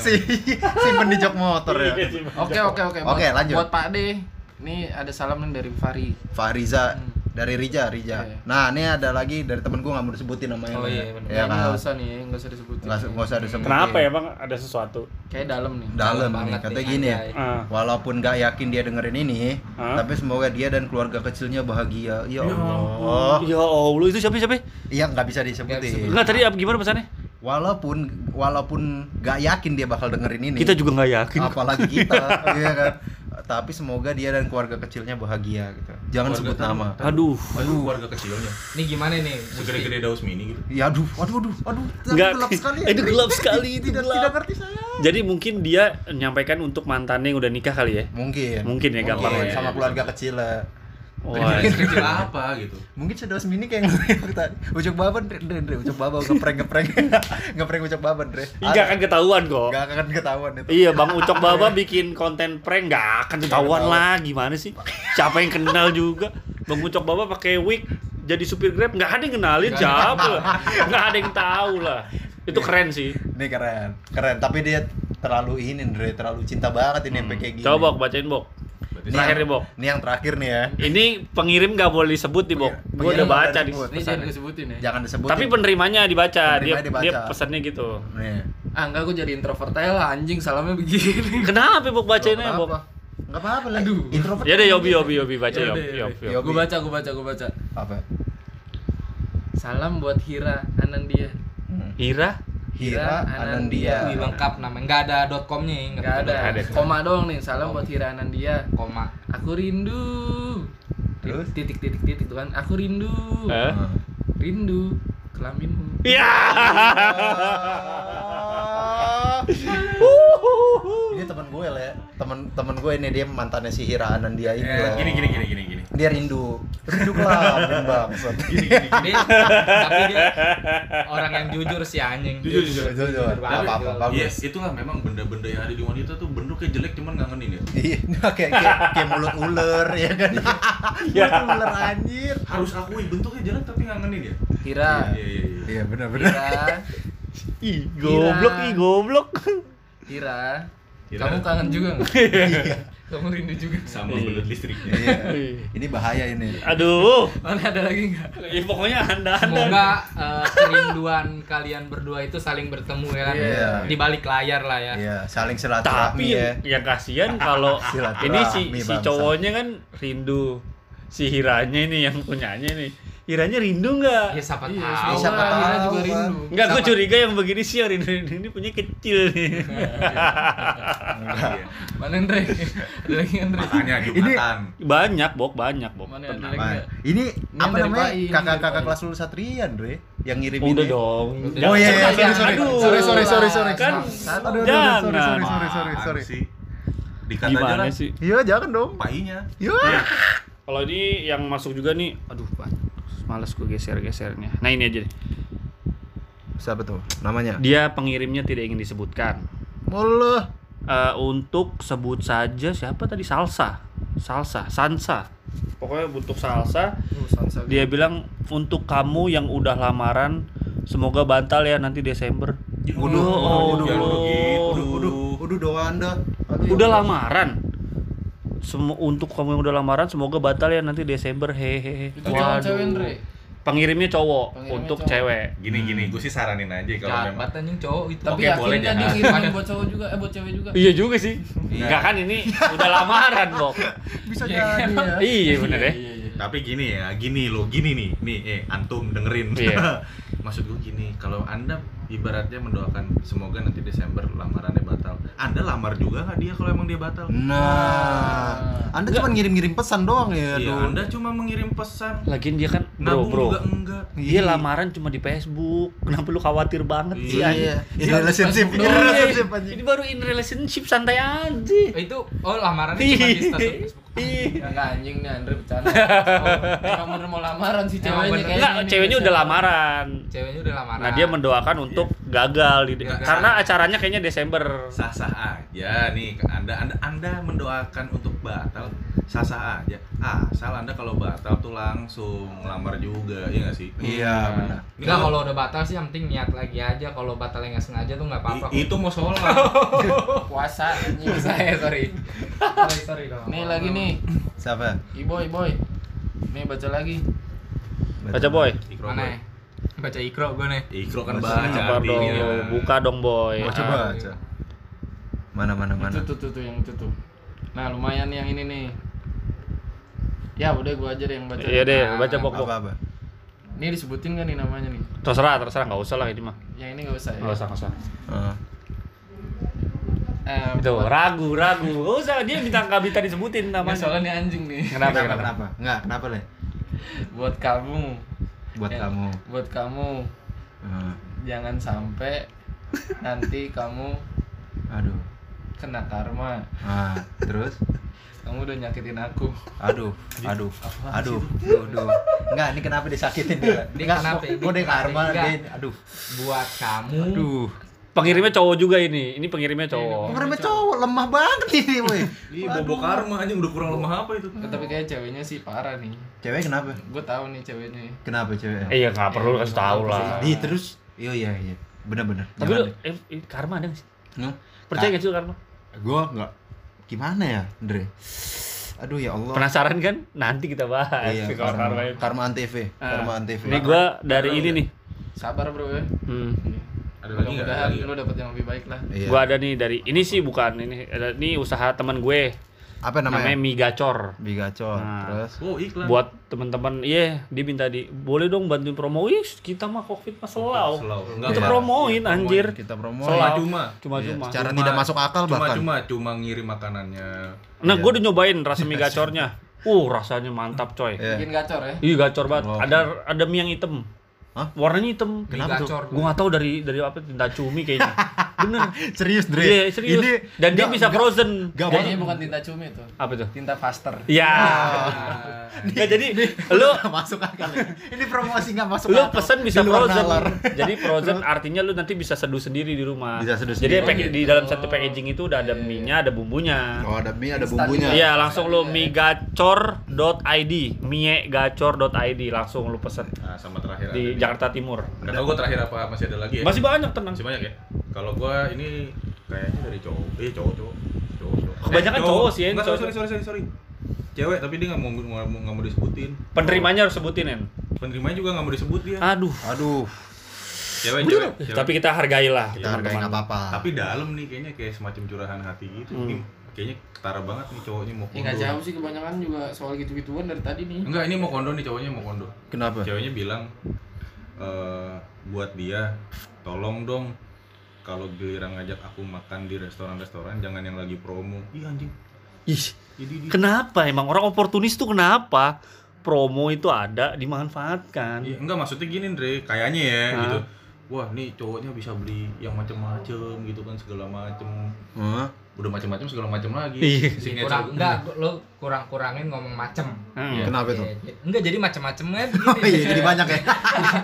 [SPEAKER 2] si si penijok motor ya.
[SPEAKER 3] Iya.
[SPEAKER 4] Oke oke oke.
[SPEAKER 2] Oke,
[SPEAKER 4] Buat-
[SPEAKER 2] lanjut.
[SPEAKER 4] Buat Pak D, nih ada salam nih dari Fahri.
[SPEAKER 2] Fahriza
[SPEAKER 5] Hmm.
[SPEAKER 2] dari Rija, Rija.
[SPEAKER 4] Iya, iya.
[SPEAKER 2] Nah, ini ada lagi dari temen gue nggak mau disebutin namanya.
[SPEAKER 5] Oh, iya, bener.
[SPEAKER 2] Ya,
[SPEAKER 4] Ya, ini nggak
[SPEAKER 2] kan?
[SPEAKER 4] usah nih, nggak usah disebutin.
[SPEAKER 2] Nggak usah- nggak usah disebutin.
[SPEAKER 1] Kenapa ya bang? Ada sesuatu?
[SPEAKER 4] Kayak dalam nih.
[SPEAKER 2] dalam
[SPEAKER 5] Dalam
[SPEAKER 2] nih
[SPEAKER 5] banget
[SPEAKER 2] katanya
[SPEAKER 5] nih,
[SPEAKER 2] gini ya
[SPEAKER 5] anjay.
[SPEAKER 1] Ah.
[SPEAKER 2] walaupun gak yakin dia dengerin ini
[SPEAKER 1] Hah?
[SPEAKER 2] tapi semoga dia dan keluarga kecilnya bahagia ya Allah
[SPEAKER 1] Ya Allah, itu siapa siapa?
[SPEAKER 2] iya nggak bisa
[SPEAKER 5] Nggak bisa
[SPEAKER 2] disebutin
[SPEAKER 1] Enggak tadi apa gimana pesannya?
[SPEAKER 2] walaupun walaupun gak yakin dia bakal dengerin ini
[SPEAKER 1] Kita juga nggak yakin.
[SPEAKER 2] apalagi kita iya kan tapi semoga dia dan keluarga kecilnya bahagia gitu jangan
[SPEAKER 3] Keluarga
[SPEAKER 2] sebut
[SPEAKER 3] kan-
[SPEAKER 2] nama
[SPEAKER 1] Aduh.
[SPEAKER 3] Aduh, keluarga kecilnya.
[SPEAKER 5] Ini gimana nih?
[SPEAKER 3] Segede-gede daus mini gitu.
[SPEAKER 2] ya aduh aduh aduh aduh tapi
[SPEAKER 1] Nggak,
[SPEAKER 2] gelap sekali ya.
[SPEAKER 1] itu gelap sekali, itu
[SPEAKER 2] tidak
[SPEAKER 1] gelap.
[SPEAKER 2] tidak ngerti saya
[SPEAKER 1] Jadi mungkin dia nyampaikan untuk mantannya yang udah nikah kali ya?
[SPEAKER 2] mungkin
[SPEAKER 1] Mungkin ya, gampangnya
[SPEAKER 2] sama
[SPEAKER 3] ya.
[SPEAKER 2] keluarga kecil lah
[SPEAKER 1] Wah.
[SPEAKER 3] Kecil apa gitu.
[SPEAKER 2] Mungkin sedo mini kayak yang tadi. Ucok baban, Dre, Dre, Dre, ucok baban, ngepreng, ngepreng. ngepreng ucok baban, Dre.
[SPEAKER 1] Enggak akan ketahuan kok.
[SPEAKER 2] Nggak akan ketahuan itu.
[SPEAKER 1] Iya, Bang Ucok Baba bikin konten prank nggak akan ketahuan lah gimana sih? Siapa yang kenal juga? Bang Ucok Baba pakai wig jadi supir Grab nggak ada yang kenalin siapa lah. Nggak ada yang tahu lah. Itu
[SPEAKER 2] Iya.
[SPEAKER 1] keren sih.
[SPEAKER 2] Ini keren, keren. Tapi dia terlalu ini, Dre, terlalu cinta banget ini sampai kayak gini.
[SPEAKER 1] Hmm. Coba Bok, bacain Bok.
[SPEAKER 3] Berarti
[SPEAKER 2] Ini
[SPEAKER 1] terakhir
[SPEAKER 2] yang-
[SPEAKER 1] nih, Bok.
[SPEAKER 2] Ini yang terakhir nih ya.
[SPEAKER 1] Ini pengirim nggak boleh disebut nih Bok. Gue
[SPEAKER 2] Iya. Pengirim
[SPEAKER 1] udah
[SPEAKER 2] nggak
[SPEAKER 1] baca
[SPEAKER 2] boleh
[SPEAKER 1] nih.
[SPEAKER 2] disebut.
[SPEAKER 4] Ini jangan disebutin ya.
[SPEAKER 2] Jangan disebut.
[SPEAKER 1] Tapi penerimanya dibaca. Dia,
[SPEAKER 2] Penerimanya dibaca.
[SPEAKER 1] dia pesannya gitu.
[SPEAKER 2] Nih.
[SPEAKER 4] Ah enggak, gue jadi introvert aja lah anjing salamnya begini.
[SPEAKER 1] Kenapa Bok bacainnya
[SPEAKER 4] Apa?
[SPEAKER 1] Bok?
[SPEAKER 2] Enggak apa-apa lah.
[SPEAKER 4] Aduh.
[SPEAKER 2] Introvert.
[SPEAKER 1] Ya deh Yobi Yobi Yobi baca
[SPEAKER 3] Iya,
[SPEAKER 4] Yaudah,
[SPEAKER 2] ya
[SPEAKER 1] Yobi
[SPEAKER 4] yaudah.
[SPEAKER 1] Yobi.
[SPEAKER 2] Yobi.
[SPEAKER 4] Gue baca, gue baca, gue baca.
[SPEAKER 2] Apa?
[SPEAKER 4] Salam buat Hira Anandia.
[SPEAKER 1] Ira
[SPEAKER 2] Hmm. Hira Anandia.
[SPEAKER 5] Wih, lengkap namanya. Nggak ada .com-nya ya.
[SPEAKER 4] Nggak ada.
[SPEAKER 3] Nggak ada.
[SPEAKER 4] Koma doang nih. Salam buat Hira Anandia.
[SPEAKER 5] Koma.
[SPEAKER 4] Aku rindu.
[SPEAKER 2] Terus?
[SPEAKER 4] Titik titik titik tuh kan. Aku rindu.
[SPEAKER 2] Uh.
[SPEAKER 1] Hah?
[SPEAKER 2] Hmm.
[SPEAKER 3] Nah,
[SPEAKER 4] Rindu kelaminmu.
[SPEAKER 1] Iya.
[SPEAKER 2] Ini temen gue le, temen temen gue ini dia mantannya si Hira Anandia ini.
[SPEAKER 3] eh,
[SPEAKER 2] Le.
[SPEAKER 3] gini gini gini gini gini.
[SPEAKER 2] Dia rindu, rindu kelamin bang.
[SPEAKER 3] Gini gini. gini.
[SPEAKER 5] Dia- tapi dia orang yang jujur sih anjing.
[SPEAKER 3] Jujur jujur.
[SPEAKER 2] Jujur, jujur,
[SPEAKER 5] banget.
[SPEAKER 2] apa apa bagus.
[SPEAKER 3] Yes, itulah memang benda-benda yang ada di wanita tuh bentuknya jelek cuman ngangenin ya.
[SPEAKER 2] Iya, kayak kayak, kayak mulut ular ya kan. mulut ular anjir.
[SPEAKER 3] Harus akui bentuknya jelek tapi ngangenin ya.
[SPEAKER 4] Hira.
[SPEAKER 3] Iya iya iya.
[SPEAKER 2] Iya benar-benar.
[SPEAKER 4] Hira.
[SPEAKER 1] Ih, goblok, ih, goblok.
[SPEAKER 4] Hira.
[SPEAKER 3] Hira.
[SPEAKER 4] Kamu kangen juga nggak? Kamu rindu juga. nggak?
[SPEAKER 3] Sama belut listriknya.
[SPEAKER 2] kan- Iya. Ini bahaya ini.
[SPEAKER 1] Aduh.
[SPEAKER 4] Mana ada lagi nggak?
[SPEAKER 1] Ya, pokoknya anda-anda.
[SPEAKER 5] Semoga eh, kerinduan kalian berdua itu saling bertemu ya kan.
[SPEAKER 2] Iya.
[SPEAKER 5] Di balik layar lah ya.
[SPEAKER 2] Iya, saling
[SPEAKER 1] tapi
[SPEAKER 2] silaturahmi
[SPEAKER 1] yang,
[SPEAKER 2] ya.
[SPEAKER 1] yang kasihan kalau
[SPEAKER 2] Silaturahmi,
[SPEAKER 1] ini si si
[SPEAKER 2] bangsa.
[SPEAKER 1] cowoknya kan rindu si Hiranya ini yang punyanya nih Hiranya rindu nggak
[SPEAKER 5] Ya siapa
[SPEAKER 4] Iya,
[SPEAKER 5] tahu.
[SPEAKER 2] siapa
[SPEAKER 4] lah, Hira
[SPEAKER 2] tahu,
[SPEAKER 4] juga
[SPEAKER 2] kan.
[SPEAKER 4] rindu.
[SPEAKER 1] nggak gue
[SPEAKER 5] Sama-
[SPEAKER 1] curiga yang begini sih yang rindu rindu ini punya kecil nih
[SPEAKER 2] Nah,
[SPEAKER 3] Iya.
[SPEAKER 4] Mana Andre? Ada lagi Andre?
[SPEAKER 3] Makanya Jumatan.
[SPEAKER 1] banyak bok banyak bok
[SPEAKER 4] Mana ada
[SPEAKER 1] Tenang.
[SPEAKER 4] lagi
[SPEAKER 2] Apaan?
[SPEAKER 4] nggak?
[SPEAKER 2] Ini
[SPEAKER 4] Ini
[SPEAKER 2] apa
[SPEAKER 4] dari
[SPEAKER 2] namanya?
[SPEAKER 4] Pai, ini dari
[SPEAKER 2] Kakak-kakak
[SPEAKER 4] Pai.
[SPEAKER 2] kelas lu Satrian, Dre, yang ngirim
[SPEAKER 1] udah
[SPEAKER 2] ini.
[SPEAKER 1] dong
[SPEAKER 4] Udah.
[SPEAKER 2] Oh iya, iya,
[SPEAKER 1] Jangan,
[SPEAKER 2] sorry, sorry.
[SPEAKER 1] aduh.
[SPEAKER 2] Sorry, sorry, sorry, sorry.
[SPEAKER 1] kan
[SPEAKER 2] Aduh, aduh, aduh,
[SPEAKER 1] jangan
[SPEAKER 2] sorry, sorry, sorry, sorry,
[SPEAKER 3] Apaan
[SPEAKER 2] sorry.
[SPEAKER 3] sih? Dikata aja
[SPEAKER 1] gimana
[SPEAKER 3] lah.
[SPEAKER 1] sih
[SPEAKER 2] Iya, jangan dong.
[SPEAKER 3] Painya.
[SPEAKER 2] Iya.
[SPEAKER 1] Nah, kalau ini yang masuk juga nih aduh banyak males gue geser gesernya nah ini aja deh.
[SPEAKER 2] Siapa tuh namanya?
[SPEAKER 1] dia pengirimnya tidak ingin disebutkan
[SPEAKER 2] Mulu.
[SPEAKER 1] Eh, untuk sebut saja siapa tadi salsa salsa sansa pokoknya untuk salsa
[SPEAKER 4] Oh, Sansa.
[SPEAKER 1] dia bilang untuk kamu yang udah lamaran semoga bantal ya nanti Desember
[SPEAKER 2] Waduh,
[SPEAKER 1] Oh,
[SPEAKER 2] waduh,
[SPEAKER 3] jangan
[SPEAKER 1] Allah.
[SPEAKER 3] udah ya, gitu.
[SPEAKER 2] Waduh, waduh, waduh doan dah.
[SPEAKER 1] udah lamaran Semu- untuk kamu yang udah lamaran semoga batal ya nanti Desember hehehe
[SPEAKER 4] Itu cowok cewek Andre.
[SPEAKER 1] pengirimnya cowok
[SPEAKER 4] Pengirimnya
[SPEAKER 1] untuk
[SPEAKER 4] cowok.
[SPEAKER 1] cewek
[SPEAKER 3] Gini gini, gue sih saranin aja kalau
[SPEAKER 5] Jahat
[SPEAKER 3] memang
[SPEAKER 5] banget anjing cowok itu.
[SPEAKER 3] Oke,
[SPEAKER 4] Tapi
[SPEAKER 3] boleh,
[SPEAKER 2] kan
[SPEAKER 4] akhirnya dia
[SPEAKER 3] jangan.
[SPEAKER 4] kirimin buat cowok juga, eh buat cewek juga.
[SPEAKER 1] iya juga sih
[SPEAKER 3] Iya.
[SPEAKER 1] enggak kan ini udah lamaran Bok
[SPEAKER 2] Bisa
[SPEAKER 4] Iya,
[SPEAKER 2] jadi ya.
[SPEAKER 1] iya bener ya
[SPEAKER 4] Iya, iya.
[SPEAKER 3] Tapi gini ya, gini loh, gini nih, nih, eh, antum dengerin.
[SPEAKER 1] Iya.
[SPEAKER 3] Maksud gue gini, kalau anda ibaratnya mendoakan semoga nanti Desember lamarannya batal, anda lamar juga nggak dia kalau emang dia batal?
[SPEAKER 2] Hmm. Nah, Anda cuma ngirim-ngirim pesan doang ya,
[SPEAKER 3] Iya,
[SPEAKER 2] Dul.
[SPEAKER 3] anda cuma mengirim pesan,
[SPEAKER 1] lagian dia kan bro
[SPEAKER 3] nabung
[SPEAKER 1] bro
[SPEAKER 3] juga enggak.
[SPEAKER 1] dia lamaran cama di Facebook kenapa lu khawatir banget sih
[SPEAKER 3] Iya.
[SPEAKER 1] anjing?
[SPEAKER 2] Ini relationship, ini
[SPEAKER 1] Iya,
[SPEAKER 2] relationship anjing.
[SPEAKER 1] ini baru in relationship santai aja Iya.
[SPEAKER 5] Itu oh lamaran cuma
[SPEAKER 2] Iya.
[SPEAKER 5] di status Facebook.
[SPEAKER 4] Ya enggak anjing nih Andre bercanda. Emang bener mau lamaran si ceweknya
[SPEAKER 5] Emang bener.
[SPEAKER 4] kayaknya.
[SPEAKER 1] Enggak,
[SPEAKER 4] nih,
[SPEAKER 1] Iya. ceweknya udah
[SPEAKER 4] biasa.
[SPEAKER 1] lamaran.
[SPEAKER 5] Ceweknya udah lamaran.
[SPEAKER 1] Nah, dia mendoakan untuk gagal di
[SPEAKER 5] Gagal.
[SPEAKER 1] karena acaranya kayaknya Desember.
[SPEAKER 3] Sah-sah aja nih, anda, anda, anda mendoakan untuk batal, sah-sah aja. Asal anda kalau batal tuh langsung lamar juga, iya nggak sih?
[SPEAKER 2] Iya, benar.
[SPEAKER 5] Enggak kalau udah batal sih yang penting niat lagi aja kalau batalnya nggak sengaja tuh nggak apa-apa.
[SPEAKER 3] I- itu mau sholat.
[SPEAKER 4] puasa anjing.
[SPEAKER 5] saya sorry. sorry sorry dong.
[SPEAKER 4] Nih lagi nih,
[SPEAKER 2] Siapa?
[SPEAKER 4] Iboy, Boy. Nih baca lagi.
[SPEAKER 1] Baca boy.
[SPEAKER 3] Ikro,
[SPEAKER 5] Mana
[SPEAKER 3] boy.
[SPEAKER 5] ya? Baca ikro gue nih.
[SPEAKER 3] Ikro kan
[SPEAKER 2] Baca,
[SPEAKER 3] baca
[SPEAKER 1] Sabar dong,
[SPEAKER 3] artinya.
[SPEAKER 1] buka dong boy.
[SPEAKER 2] Baca,
[SPEAKER 1] Ah.
[SPEAKER 2] baca. Oh, Mana mana mana.
[SPEAKER 4] Itu tuh, tuh tuh yang itu tuh. Nah, lumayan yang ini nih. Ya udah gua aja deh yang baca.
[SPEAKER 1] Iya deh, baca bok bok.
[SPEAKER 2] Apa apa?
[SPEAKER 4] Ini disebutin kan nih namanya nih.
[SPEAKER 1] Terserah, terserah nggak usah lah ini mah.
[SPEAKER 4] Yang ini enggak usah ya.
[SPEAKER 1] Nggak usah, nggak usah.
[SPEAKER 2] Heeh.
[SPEAKER 4] Eh,
[SPEAKER 1] Itu Gitu. ragu, ragu. Nggak usah, dia minta nggak minta disebutin
[SPEAKER 4] Nah,
[SPEAKER 1] namanya.
[SPEAKER 4] soalnya nih anjing nih.
[SPEAKER 1] Kenapa?
[SPEAKER 2] Kenapa
[SPEAKER 1] kenapa?
[SPEAKER 2] kenapa? Eh. Enggak, kenapa, Le?
[SPEAKER 4] buat kamu,
[SPEAKER 2] Buat
[SPEAKER 4] Ya.
[SPEAKER 2] kamu. Eh,
[SPEAKER 4] buat kamu
[SPEAKER 2] Heeh.
[SPEAKER 4] jangan sampai nanti kamu
[SPEAKER 2] Aduh.
[SPEAKER 4] kena karma.
[SPEAKER 2] Ah, terus?
[SPEAKER 4] Kamu udah nyakitin aku.
[SPEAKER 2] Aduh, aduh, aduh, aduh, aduh. Enggak, ini kenapa disakitin dia?
[SPEAKER 5] Ini
[SPEAKER 2] Enggak,
[SPEAKER 5] kenapa?
[SPEAKER 2] Gue
[SPEAKER 5] Ini
[SPEAKER 2] deh karma,
[SPEAKER 5] kenapa?
[SPEAKER 2] deh. Aduh,
[SPEAKER 5] Buat kamu.
[SPEAKER 2] aduh.
[SPEAKER 1] Pengirimnya cowok juga ini. Ini pengirimnya cowok.
[SPEAKER 2] Karena cowok lemah banget ini, woi.
[SPEAKER 3] Ih, bobo karma anjing udah kurang lemah apa itu?
[SPEAKER 4] Eh, Tapi kayak ceweknya sih parah nih.
[SPEAKER 2] Cewek kenapa?
[SPEAKER 4] Gue tahu nih ceweknya.
[SPEAKER 2] Kenapa cewek?
[SPEAKER 1] Eh ya nggak perlu kasih tahu lah.
[SPEAKER 2] Di terus. Iya, iya, iya. Bener-bener.
[SPEAKER 1] Tapi lu, eh, eh, karma ada nggak sih? Percaya
[SPEAKER 2] Ah. percaya
[SPEAKER 1] nggak sih lu karma?
[SPEAKER 2] Gue enggak gimana ya, Andre? Aduh ya Allah.
[SPEAKER 1] Penasaran kan? Nanti kita bahas.
[SPEAKER 2] Iya,
[SPEAKER 1] kalau
[SPEAKER 2] karma,
[SPEAKER 1] karma itu. Eh,
[SPEAKER 2] karma antv, karma antv.
[SPEAKER 1] Ini gua dari ini nih.
[SPEAKER 4] Sabar bro ya.
[SPEAKER 1] Hmm.
[SPEAKER 3] Ada lagi nggak? Ada
[SPEAKER 4] Mudah-mudahan gitu.
[SPEAKER 3] lagi nggak?
[SPEAKER 4] lu dapet yang lebih baik lah.
[SPEAKER 2] Iya.
[SPEAKER 1] Gua ada nih dari ini sih bukan ini ada- ini usaha teman gue.
[SPEAKER 2] apa
[SPEAKER 1] namanya
[SPEAKER 2] namanya,
[SPEAKER 1] mie gacor
[SPEAKER 2] bigacor
[SPEAKER 1] Nah.
[SPEAKER 2] terus
[SPEAKER 3] Oh iklan.
[SPEAKER 1] buat teman-teman iya dia minta di boleh dong bantuin promo Ih, kita mah covid mah selau
[SPEAKER 3] Slow. Enggak,
[SPEAKER 1] kita
[SPEAKER 2] Iya.
[SPEAKER 1] promoin anjir
[SPEAKER 2] kita promo
[SPEAKER 1] Soal
[SPEAKER 2] ya.
[SPEAKER 3] Cuma-cuma.
[SPEAKER 2] Iya,
[SPEAKER 1] cuma-cuma
[SPEAKER 2] secara tidak masuk akal bahkan
[SPEAKER 3] Cuma-cuma cuma ngirim makanannya.
[SPEAKER 1] nah
[SPEAKER 2] Iya.
[SPEAKER 1] gue udah nyobain rasa mie gacornya uh rasanya mantap coy
[SPEAKER 2] Iya.
[SPEAKER 4] Bikin gacor ya.
[SPEAKER 1] Ih gacor banget.
[SPEAKER 2] Wow.
[SPEAKER 1] Ada ada mie yang hitam.
[SPEAKER 2] Hah?
[SPEAKER 1] Warnanya hitam.
[SPEAKER 5] Kenapa tuh? Gacor.
[SPEAKER 1] Gua nggak tahu dari dari apa tinta cumi kayaknya. Bener.
[SPEAKER 2] serius Dre
[SPEAKER 1] Iya, serius.
[SPEAKER 2] ini
[SPEAKER 1] Dan dia
[SPEAKER 2] nggak-
[SPEAKER 1] bisa
[SPEAKER 2] nggak-
[SPEAKER 1] frozen. Eh,
[SPEAKER 2] nggak
[SPEAKER 4] Kayaknya
[SPEAKER 2] boleh Iya.
[SPEAKER 4] bukan tinta cumi tuh.
[SPEAKER 1] Apa tuh?
[SPEAKER 4] Tinta faster.
[SPEAKER 1] Ya. Nggak, jadi lu
[SPEAKER 2] Nggak masuk akal ya. ini promosi nggak masuk
[SPEAKER 1] lu
[SPEAKER 2] akal.
[SPEAKER 1] pesen bisa
[SPEAKER 2] Di luar
[SPEAKER 1] frozen.
[SPEAKER 2] nalar.
[SPEAKER 1] Jadi frozen artinya lu nanti bisa seduh sendiri di rumah.
[SPEAKER 2] Bisa seduh
[SPEAKER 1] Jadi
[SPEAKER 2] sendiri.
[SPEAKER 1] pack-
[SPEAKER 4] Oh, gitu.
[SPEAKER 1] di dalam satu packaging itu udah ada mie-nya, ada bumbunya.
[SPEAKER 2] oh ada mie ada
[SPEAKER 4] Instan
[SPEAKER 2] bumbunya
[SPEAKER 4] juga.
[SPEAKER 1] Iya, langsung lu miegacor.id, miegacor.id langsung lu pesen
[SPEAKER 3] Nah, sama terakhir
[SPEAKER 1] di
[SPEAKER 2] Iya.
[SPEAKER 3] ada
[SPEAKER 1] Jakarta Timur.
[SPEAKER 3] nih. Nggak tahu gue terakhir apa masih ada lagi ya?
[SPEAKER 1] Masih banyak tenang.
[SPEAKER 3] Masih banyak ya. Kalau gue ini kayaknya dari cowok. Eh cowok cowok. Cowok, cowok.
[SPEAKER 1] Kebanyakan
[SPEAKER 3] Eh,
[SPEAKER 1] cowok sih, ya,
[SPEAKER 3] Nggak,
[SPEAKER 1] cowok.
[SPEAKER 3] sorry, sorry, sorry, sorry. Cewek tapi dia nggak mau nggak mau, nggak mau disebutin.
[SPEAKER 1] Penerimanya harus sebutin, En.
[SPEAKER 3] Penerimanya juga nggak mau disebut dia.
[SPEAKER 1] Aduh.
[SPEAKER 2] aduh
[SPEAKER 3] Cewek, cewek, cewek.
[SPEAKER 1] Tapi kita hargailah.
[SPEAKER 2] Iya. kita hargain nggak apa-apa
[SPEAKER 3] tapi dalam nih kayaknya kayak semacam curahan hati gitu. Ini kayaknya ketara banget nih cowoknya mau
[SPEAKER 4] Ya
[SPEAKER 3] kondo.
[SPEAKER 4] nggak jauh sih kebanyakan juga soal gitu-gituan dari tadi nih.
[SPEAKER 3] Enggak, ini mau kondo nih cowoknya mau kondo.
[SPEAKER 2] kenapa
[SPEAKER 3] Ceweknya bilang eh buat dia tolong dong kalau giliran ngajak aku makan di restoran-restoran jangan yang lagi promo. Ih anjing.
[SPEAKER 1] Ih,
[SPEAKER 3] Ini dia.
[SPEAKER 1] kenapa emang orang oportunis tuh kenapa? Promo itu ada dimanfaatkan.
[SPEAKER 3] Iya, enggak maksudnya gini, Dre. Kayaknya ya
[SPEAKER 1] Hah?
[SPEAKER 3] gitu. Wah, nih cowoknya bisa beli yang macem-macem gitu kan segala macem.
[SPEAKER 2] Hah?
[SPEAKER 3] Udah macem-macem segala macem lagi.
[SPEAKER 1] Iya.
[SPEAKER 3] Signature-
[SPEAKER 5] kurang enggak lo kurang kurangin ngomong macem
[SPEAKER 1] Hmm.
[SPEAKER 2] kenapa itu
[SPEAKER 5] Ya, enggak jadi macem-macem
[SPEAKER 2] iya.
[SPEAKER 5] kan
[SPEAKER 2] oh iya jadi banyak ya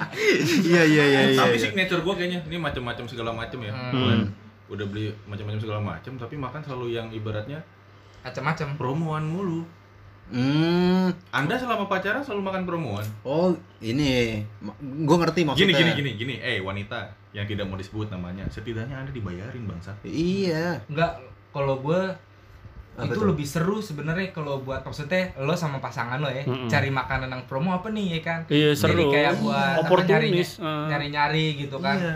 [SPEAKER 2] iya iya iya iya
[SPEAKER 3] Tapi
[SPEAKER 2] iya.
[SPEAKER 3] signature gua kayaknya ini macem-macem segala macem ya.
[SPEAKER 1] Hmm.
[SPEAKER 3] Udah beli macem-macem segala macem, tapi makan selalu yang ibaratnya
[SPEAKER 5] macem-macem
[SPEAKER 3] promoan mulu.
[SPEAKER 2] hmm
[SPEAKER 3] Anda selama pacaran selalu makan promoan.
[SPEAKER 2] oh ini gue ngerti
[SPEAKER 3] Gini
[SPEAKER 2] maksudnya
[SPEAKER 3] gini gini gini, eh wanita yang tidak mau disebut namanya, setidaknya Anda dibayarin bangsa.
[SPEAKER 2] iya
[SPEAKER 5] enggak kalau gue
[SPEAKER 2] Apa
[SPEAKER 5] itu
[SPEAKER 2] tuh?
[SPEAKER 5] lebih seru sebenarnya kalau buat maksudnya lo sama pasangan lo ya
[SPEAKER 1] Mm-mm.
[SPEAKER 5] cari makanan yang promo apa nih ya kan
[SPEAKER 1] Iya,
[SPEAKER 5] jadi
[SPEAKER 1] seru.
[SPEAKER 5] kayak buat apa,
[SPEAKER 1] Oportunis.
[SPEAKER 5] nyari-
[SPEAKER 1] eh.
[SPEAKER 5] nyari-nyari gitu kan
[SPEAKER 3] Iya,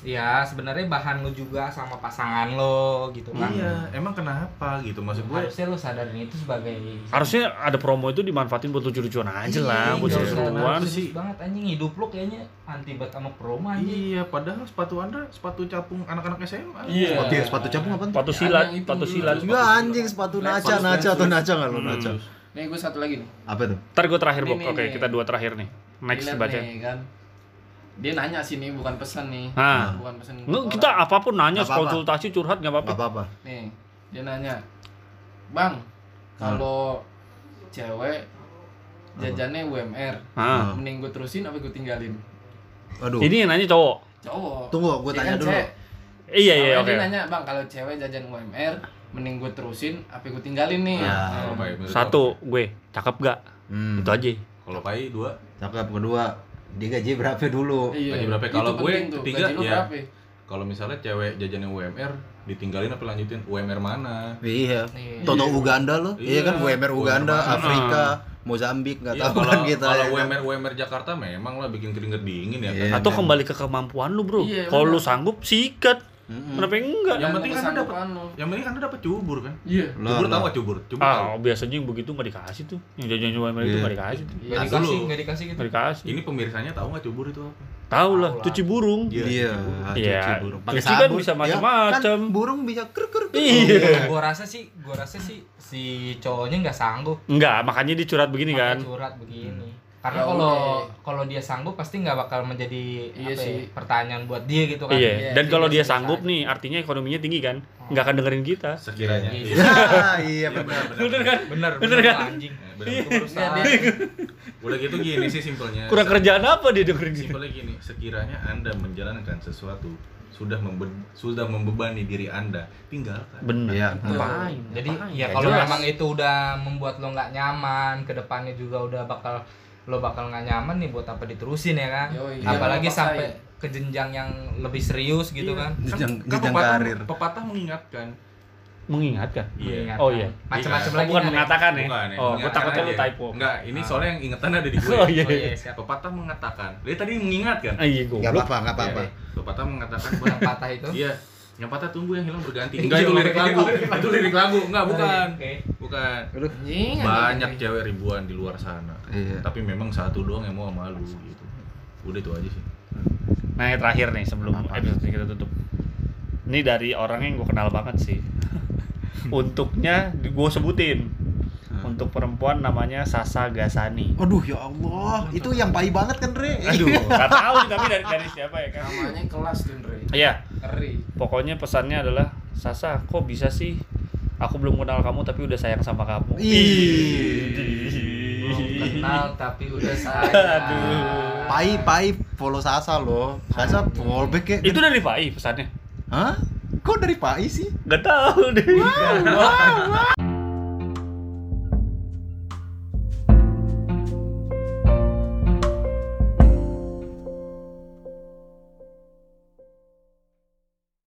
[SPEAKER 5] ya sebenarnya bahan lo juga sama pasangan lo gitu kan
[SPEAKER 3] iya. Emang kenapa gitu maksud gue?
[SPEAKER 5] harusnya lo sadarin itu sebagai
[SPEAKER 1] Harusnya ada promo itu dimanfaatin buat lucu-lucuan aja lah,
[SPEAKER 5] Iya,
[SPEAKER 1] nah, buat
[SPEAKER 5] nggak usah
[SPEAKER 1] seru-seruan.
[SPEAKER 5] narsis
[SPEAKER 3] sih.
[SPEAKER 5] banget anjing hidup lo kayaknya anti banget sama promo anjing
[SPEAKER 3] Iya, padahal sepatu Anda sepatu capung anak-anak SMA.
[SPEAKER 4] Iya.
[SPEAKER 2] sepatu sepatu capung apa
[SPEAKER 1] Sepatu
[SPEAKER 4] Ada
[SPEAKER 1] silat,
[SPEAKER 4] yang itu.
[SPEAKER 1] sepatu silat.
[SPEAKER 2] Enggak anjing sepatu naca,
[SPEAKER 4] Lepas,
[SPEAKER 2] naca
[SPEAKER 4] lepas.
[SPEAKER 2] atau naca nggak lo naca?
[SPEAKER 4] Nih gue satu lagi nih.
[SPEAKER 2] Apa tuh?
[SPEAKER 1] Ntar gue terakhir,
[SPEAKER 4] Ini,
[SPEAKER 1] Bob.
[SPEAKER 4] ini,
[SPEAKER 1] Oke,
[SPEAKER 4] ini.
[SPEAKER 1] kita dua terakhir nih. Next
[SPEAKER 4] Dilihat
[SPEAKER 1] baca.
[SPEAKER 4] nih, kan. Dia nanya sih nih bukan pesan nih.
[SPEAKER 1] Nah.
[SPEAKER 4] Bukan pesan.
[SPEAKER 1] Nggak,
[SPEAKER 4] orang.
[SPEAKER 1] kita apapun nanya,
[SPEAKER 2] Nggak apa-apa.
[SPEAKER 1] konsultasi, curhat, nggak
[SPEAKER 2] Gak
[SPEAKER 1] apa-apa.
[SPEAKER 2] apa-apa.
[SPEAKER 4] Nih, dia nanya, "Bang,
[SPEAKER 2] Ah.
[SPEAKER 4] kalau cewek jajannya UMR,
[SPEAKER 1] Ah.
[SPEAKER 2] Apa?
[SPEAKER 4] mending gue terusin apa gue tinggalin?"
[SPEAKER 2] Aduh.
[SPEAKER 1] Ini yang nanya cowok.
[SPEAKER 4] Cowok.
[SPEAKER 2] Tunggu, gue
[SPEAKER 4] Dia
[SPEAKER 2] tanya
[SPEAKER 4] kan
[SPEAKER 2] dulu.
[SPEAKER 4] cewek.
[SPEAKER 1] Iya, iya,
[SPEAKER 4] Awalnya
[SPEAKER 1] oke.
[SPEAKER 4] Dia Nah, nanya, "Bang, kalau cewek jajan UMR, mending gue terusin apa gue tinggalin nih?"
[SPEAKER 2] Ya.
[SPEAKER 4] Nah,
[SPEAKER 3] Kalau baik, menurut
[SPEAKER 1] Satu, gue cakep gak?
[SPEAKER 2] Hmm.
[SPEAKER 1] Itu aja.
[SPEAKER 3] lo. Kalau pai dua,
[SPEAKER 2] Cakep kedua, dia gaji berapa dulu?
[SPEAKER 4] Iya.
[SPEAKER 3] Gaji berapa?
[SPEAKER 4] Itu
[SPEAKER 3] Kalau gue
[SPEAKER 4] penting tuh,
[SPEAKER 3] ketiga,
[SPEAKER 4] gaji lu
[SPEAKER 3] ya.
[SPEAKER 4] berapa?
[SPEAKER 3] kalau misalnya cewek jajannya UMR, ditinggalin apa lanjutin? UMR mana?
[SPEAKER 2] Iya.
[SPEAKER 5] Nih.
[SPEAKER 2] Toto Uganda lo? Iya
[SPEAKER 3] Iya.
[SPEAKER 2] kan UMR Uganda,
[SPEAKER 3] Uganda.
[SPEAKER 2] Afrika, Mozambik nggak
[SPEAKER 3] Iya,
[SPEAKER 2] tahu
[SPEAKER 3] kalau
[SPEAKER 2] kan kita.
[SPEAKER 3] kalau
[SPEAKER 2] ya kan?
[SPEAKER 3] UMR UMR Jakarta memang lah bikin keringet dingin ya.
[SPEAKER 2] Iya.
[SPEAKER 3] kan?
[SPEAKER 1] Atau
[SPEAKER 2] Dan-
[SPEAKER 1] kembali ke kemampuan lu, Bro.
[SPEAKER 4] Iya, Ya.
[SPEAKER 1] Kalau
[SPEAKER 4] benar.
[SPEAKER 1] lu sanggup sikat.
[SPEAKER 2] Mm-mm.
[SPEAKER 1] Kenapa enggak?
[SPEAKER 3] Yang
[SPEAKER 4] Dan
[SPEAKER 3] penting kan
[SPEAKER 4] kesanggupan
[SPEAKER 3] dapat.
[SPEAKER 4] lu.
[SPEAKER 3] Yang penting anda dapat cubur kan?
[SPEAKER 4] Iya.
[SPEAKER 2] Lah,
[SPEAKER 3] cubur
[SPEAKER 2] lah.
[SPEAKER 3] tahu nggak cubur? Cubur tahu.
[SPEAKER 1] Ah, biasanya yang begitu nggak dikasih tuh. Yang jajan cuma itu
[SPEAKER 2] Iya.
[SPEAKER 1] nggak dikasih tuh.
[SPEAKER 5] Nggak
[SPEAKER 3] Nah,
[SPEAKER 5] dikasih
[SPEAKER 3] dulu.
[SPEAKER 5] nggak dikasih gitu
[SPEAKER 1] Nggak dikasih.
[SPEAKER 3] Ini pemirsanya tahu nggak cubur itu apa?
[SPEAKER 1] Tahu lah,
[SPEAKER 5] Tahu lah.
[SPEAKER 1] cuci burung.
[SPEAKER 3] Iya.
[SPEAKER 2] Iya.
[SPEAKER 1] Iya.
[SPEAKER 2] cuci burung. Pakai
[SPEAKER 1] Cuci kan
[SPEAKER 2] sabun,
[SPEAKER 1] bisa
[SPEAKER 2] ya
[SPEAKER 1] macam-macam.
[SPEAKER 2] Kan burung bisa Oh, ker ker. ker.
[SPEAKER 1] Iya.
[SPEAKER 5] gue rasa sih gue rasa sih si cowoknya nggak sanggup
[SPEAKER 1] Enggak, makanya dia curhat begini kan.
[SPEAKER 5] Pakai
[SPEAKER 1] Hmm.
[SPEAKER 5] curhat begini karena
[SPEAKER 4] Ya
[SPEAKER 5] kalau
[SPEAKER 4] udah.
[SPEAKER 5] kalau dia sanggup pasti nggak bakal menjadi
[SPEAKER 4] Iya
[SPEAKER 5] apa ya,
[SPEAKER 4] sih.
[SPEAKER 5] pertanyaan buat dia gitu kan
[SPEAKER 1] Iya.
[SPEAKER 4] Iya,
[SPEAKER 1] Dan
[SPEAKER 4] iya,
[SPEAKER 1] kalau dia
[SPEAKER 4] biasa-biasa
[SPEAKER 1] sanggup
[SPEAKER 4] aja.
[SPEAKER 1] nih, artinya ekonominya tinggi kan. Nggak akan dengerin kita.
[SPEAKER 3] Sekiranya.
[SPEAKER 5] Iya.
[SPEAKER 3] Iya.
[SPEAKER 2] Ah, iya benar.
[SPEAKER 1] Bener kan?
[SPEAKER 5] bener
[SPEAKER 1] Bener
[SPEAKER 5] bener,
[SPEAKER 1] kan?
[SPEAKER 5] anjing
[SPEAKER 3] Eh, bener.
[SPEAKER 4] Iya,
[SPEAKER 5] Perusahaan.
[SPEAKER 4] dia-
[SPEAKER 3] Udah gitu gini sih simpelnya.
[SPEAKER 1] Kurang kerjaan apa dia dengerin kita?
[SPEAKER 3] Simpelnya gini, sekiranya anda menjalankan sesuatu sudah membe- sudah membebani diri anda, tinggalkan.
[SPEAKER 1] Bener.
[SPEAKER 2] Iya.
[SPEAKER 1] Ngapain?
[SPEAKER 5] jadi
[SPEAKER 1] Ngapain?
[SPEAKER 5] ya
[SPEAKER 1] Nggak
[SPEAKER 5] kalau
[SPEAKER 1] jelas.
[SPEAKER 5] memang itu udah membuat lo nggak nyaman kedepannya juga udah bakal lo bakal nggak nyaman nih buat apa diterusin ya kan
[SPEAKER 4] Yoi.
[SPEAKER 5] apalagi
[SPEAKER 4] Jangan
[SPEAKER 5] sampai
[SPEAKER 4] dipaksain.
[SPEAKER 5] ke jenjang yang lebih serius gitu
[SPEAKER 3] Iya.
[SPEAKER 5] kan
[SPEAKER 2] Jenjang- jenjang
[SPEAKER 3] pepatah-
[SPEAKER 2] karir.
[SPEAKER 3] Pepatah mengingatkan.
[SPEAKER 1] mengingatkan.
[SPEAKER 3] Iya.
[SPEAKER 1] Oh, iya.
[SPEAKER 5] macam-macam
[SPEAKER 3] Iya.
[SPEAKER 5] lagi
[SPEAKER 1] Bukan
[SPEAKER 5] kan, ya?
[SPEAKER 1] mengatakan ya.
[SPEAKER 3] Bukan, ya.
[SPEAKER 1] Oh, gue
[SPEAKER 3] Mengingatkan
[SPEAKER 1] takutnya lu
[SPEAKER 3] aja.
[SPEAKER 1] typo.
[SPEAKER 3] Enggak, ini
[SPEAKER 5] Ah.
[SPEAKER 3] soalnya yang ingetan ada di gue.
[SPEAKER 1] Oh iya.
[SPEAKER 5] oh iya siapa
[SPEAKER 3] Pepatah mengatakan. Dia tadi mengingatkan.
[SPEAKER 1] Ah, Iya,
[SPEAKER 2] Gak
[SPEAKER 1] goblok.
[SPEAKER 2] apa-apa, gak apa-apa.
[SPEAKER 3] Iya, Pepatah mengatakan
[SPEAKER 5] yang patah itu
[SPEAKER 3] Iya, Yang patah tumbuh yang hilang berganti.
[SPEAKER 5] Iya,
[SPEAKER 3] Enggak itu lirik
[SPEAKER 5] makanya.
[SPEAKER 3] lagu. itu lirik lagu. Enggak bukan.
[SPEAKER 5] Oke.
[SPEAKER 3] Bukan.
[SPEAKER 4] Anjing, anjing,
[SPEAKER 3] Banyak
[SPEAKER 4] anjing.
[SPEAKER 3] cewek ribuan di luar sana.
[SPEAKER 2] Iya.
[SPEAKER 3] Tapi memang satu doang yang mau sama lu gitu. Udah itu aja sih.
[SPEAKER 1] Nah yang terakhir nih sebelum
[SPEAKER 2] Apa?
[SPEAKER 1] episode ini kita tutup. Ini dari orang yang gue kenal banget sih. Untuknya gue sebutin.
[SPEAKER 2] Hmm.
[SPEAKER 1] Untuk perempuan namanya Sasa Gasani.
[SPEAKER 2] Aduh ya Allah, itu yang pai banget kan Re?
[SPEAKER 1] Aduh, nggak tahu nih, tapi dari, dari siapa ya kan?
[SPEAKER 4] Namanya kelas tuh, Ndre.
[SPEAKER 1] Iya,
[SPEAKER 4] Ngeri.
[SPEAKER 1] pokoknya pesannya adalah Sasa, kok bisa sih? Aku belum kenal kamu tapi udah sayang sama kamu.
[SPEAKER 2] Ih.
[SPEAKER 5] Belum kenal tapi udah sayang.
[SPEAKER 1] Aduh.
[SPEAKER 2] Pai pai follow Sasa loh. Sasa follow back ya.
[SPEAKER 1] Itu dari Pak I pesannya.
[SPEAKER 2] Hah? Kok dari pai sih?
[SPEAKER 1] Gak tahu deh.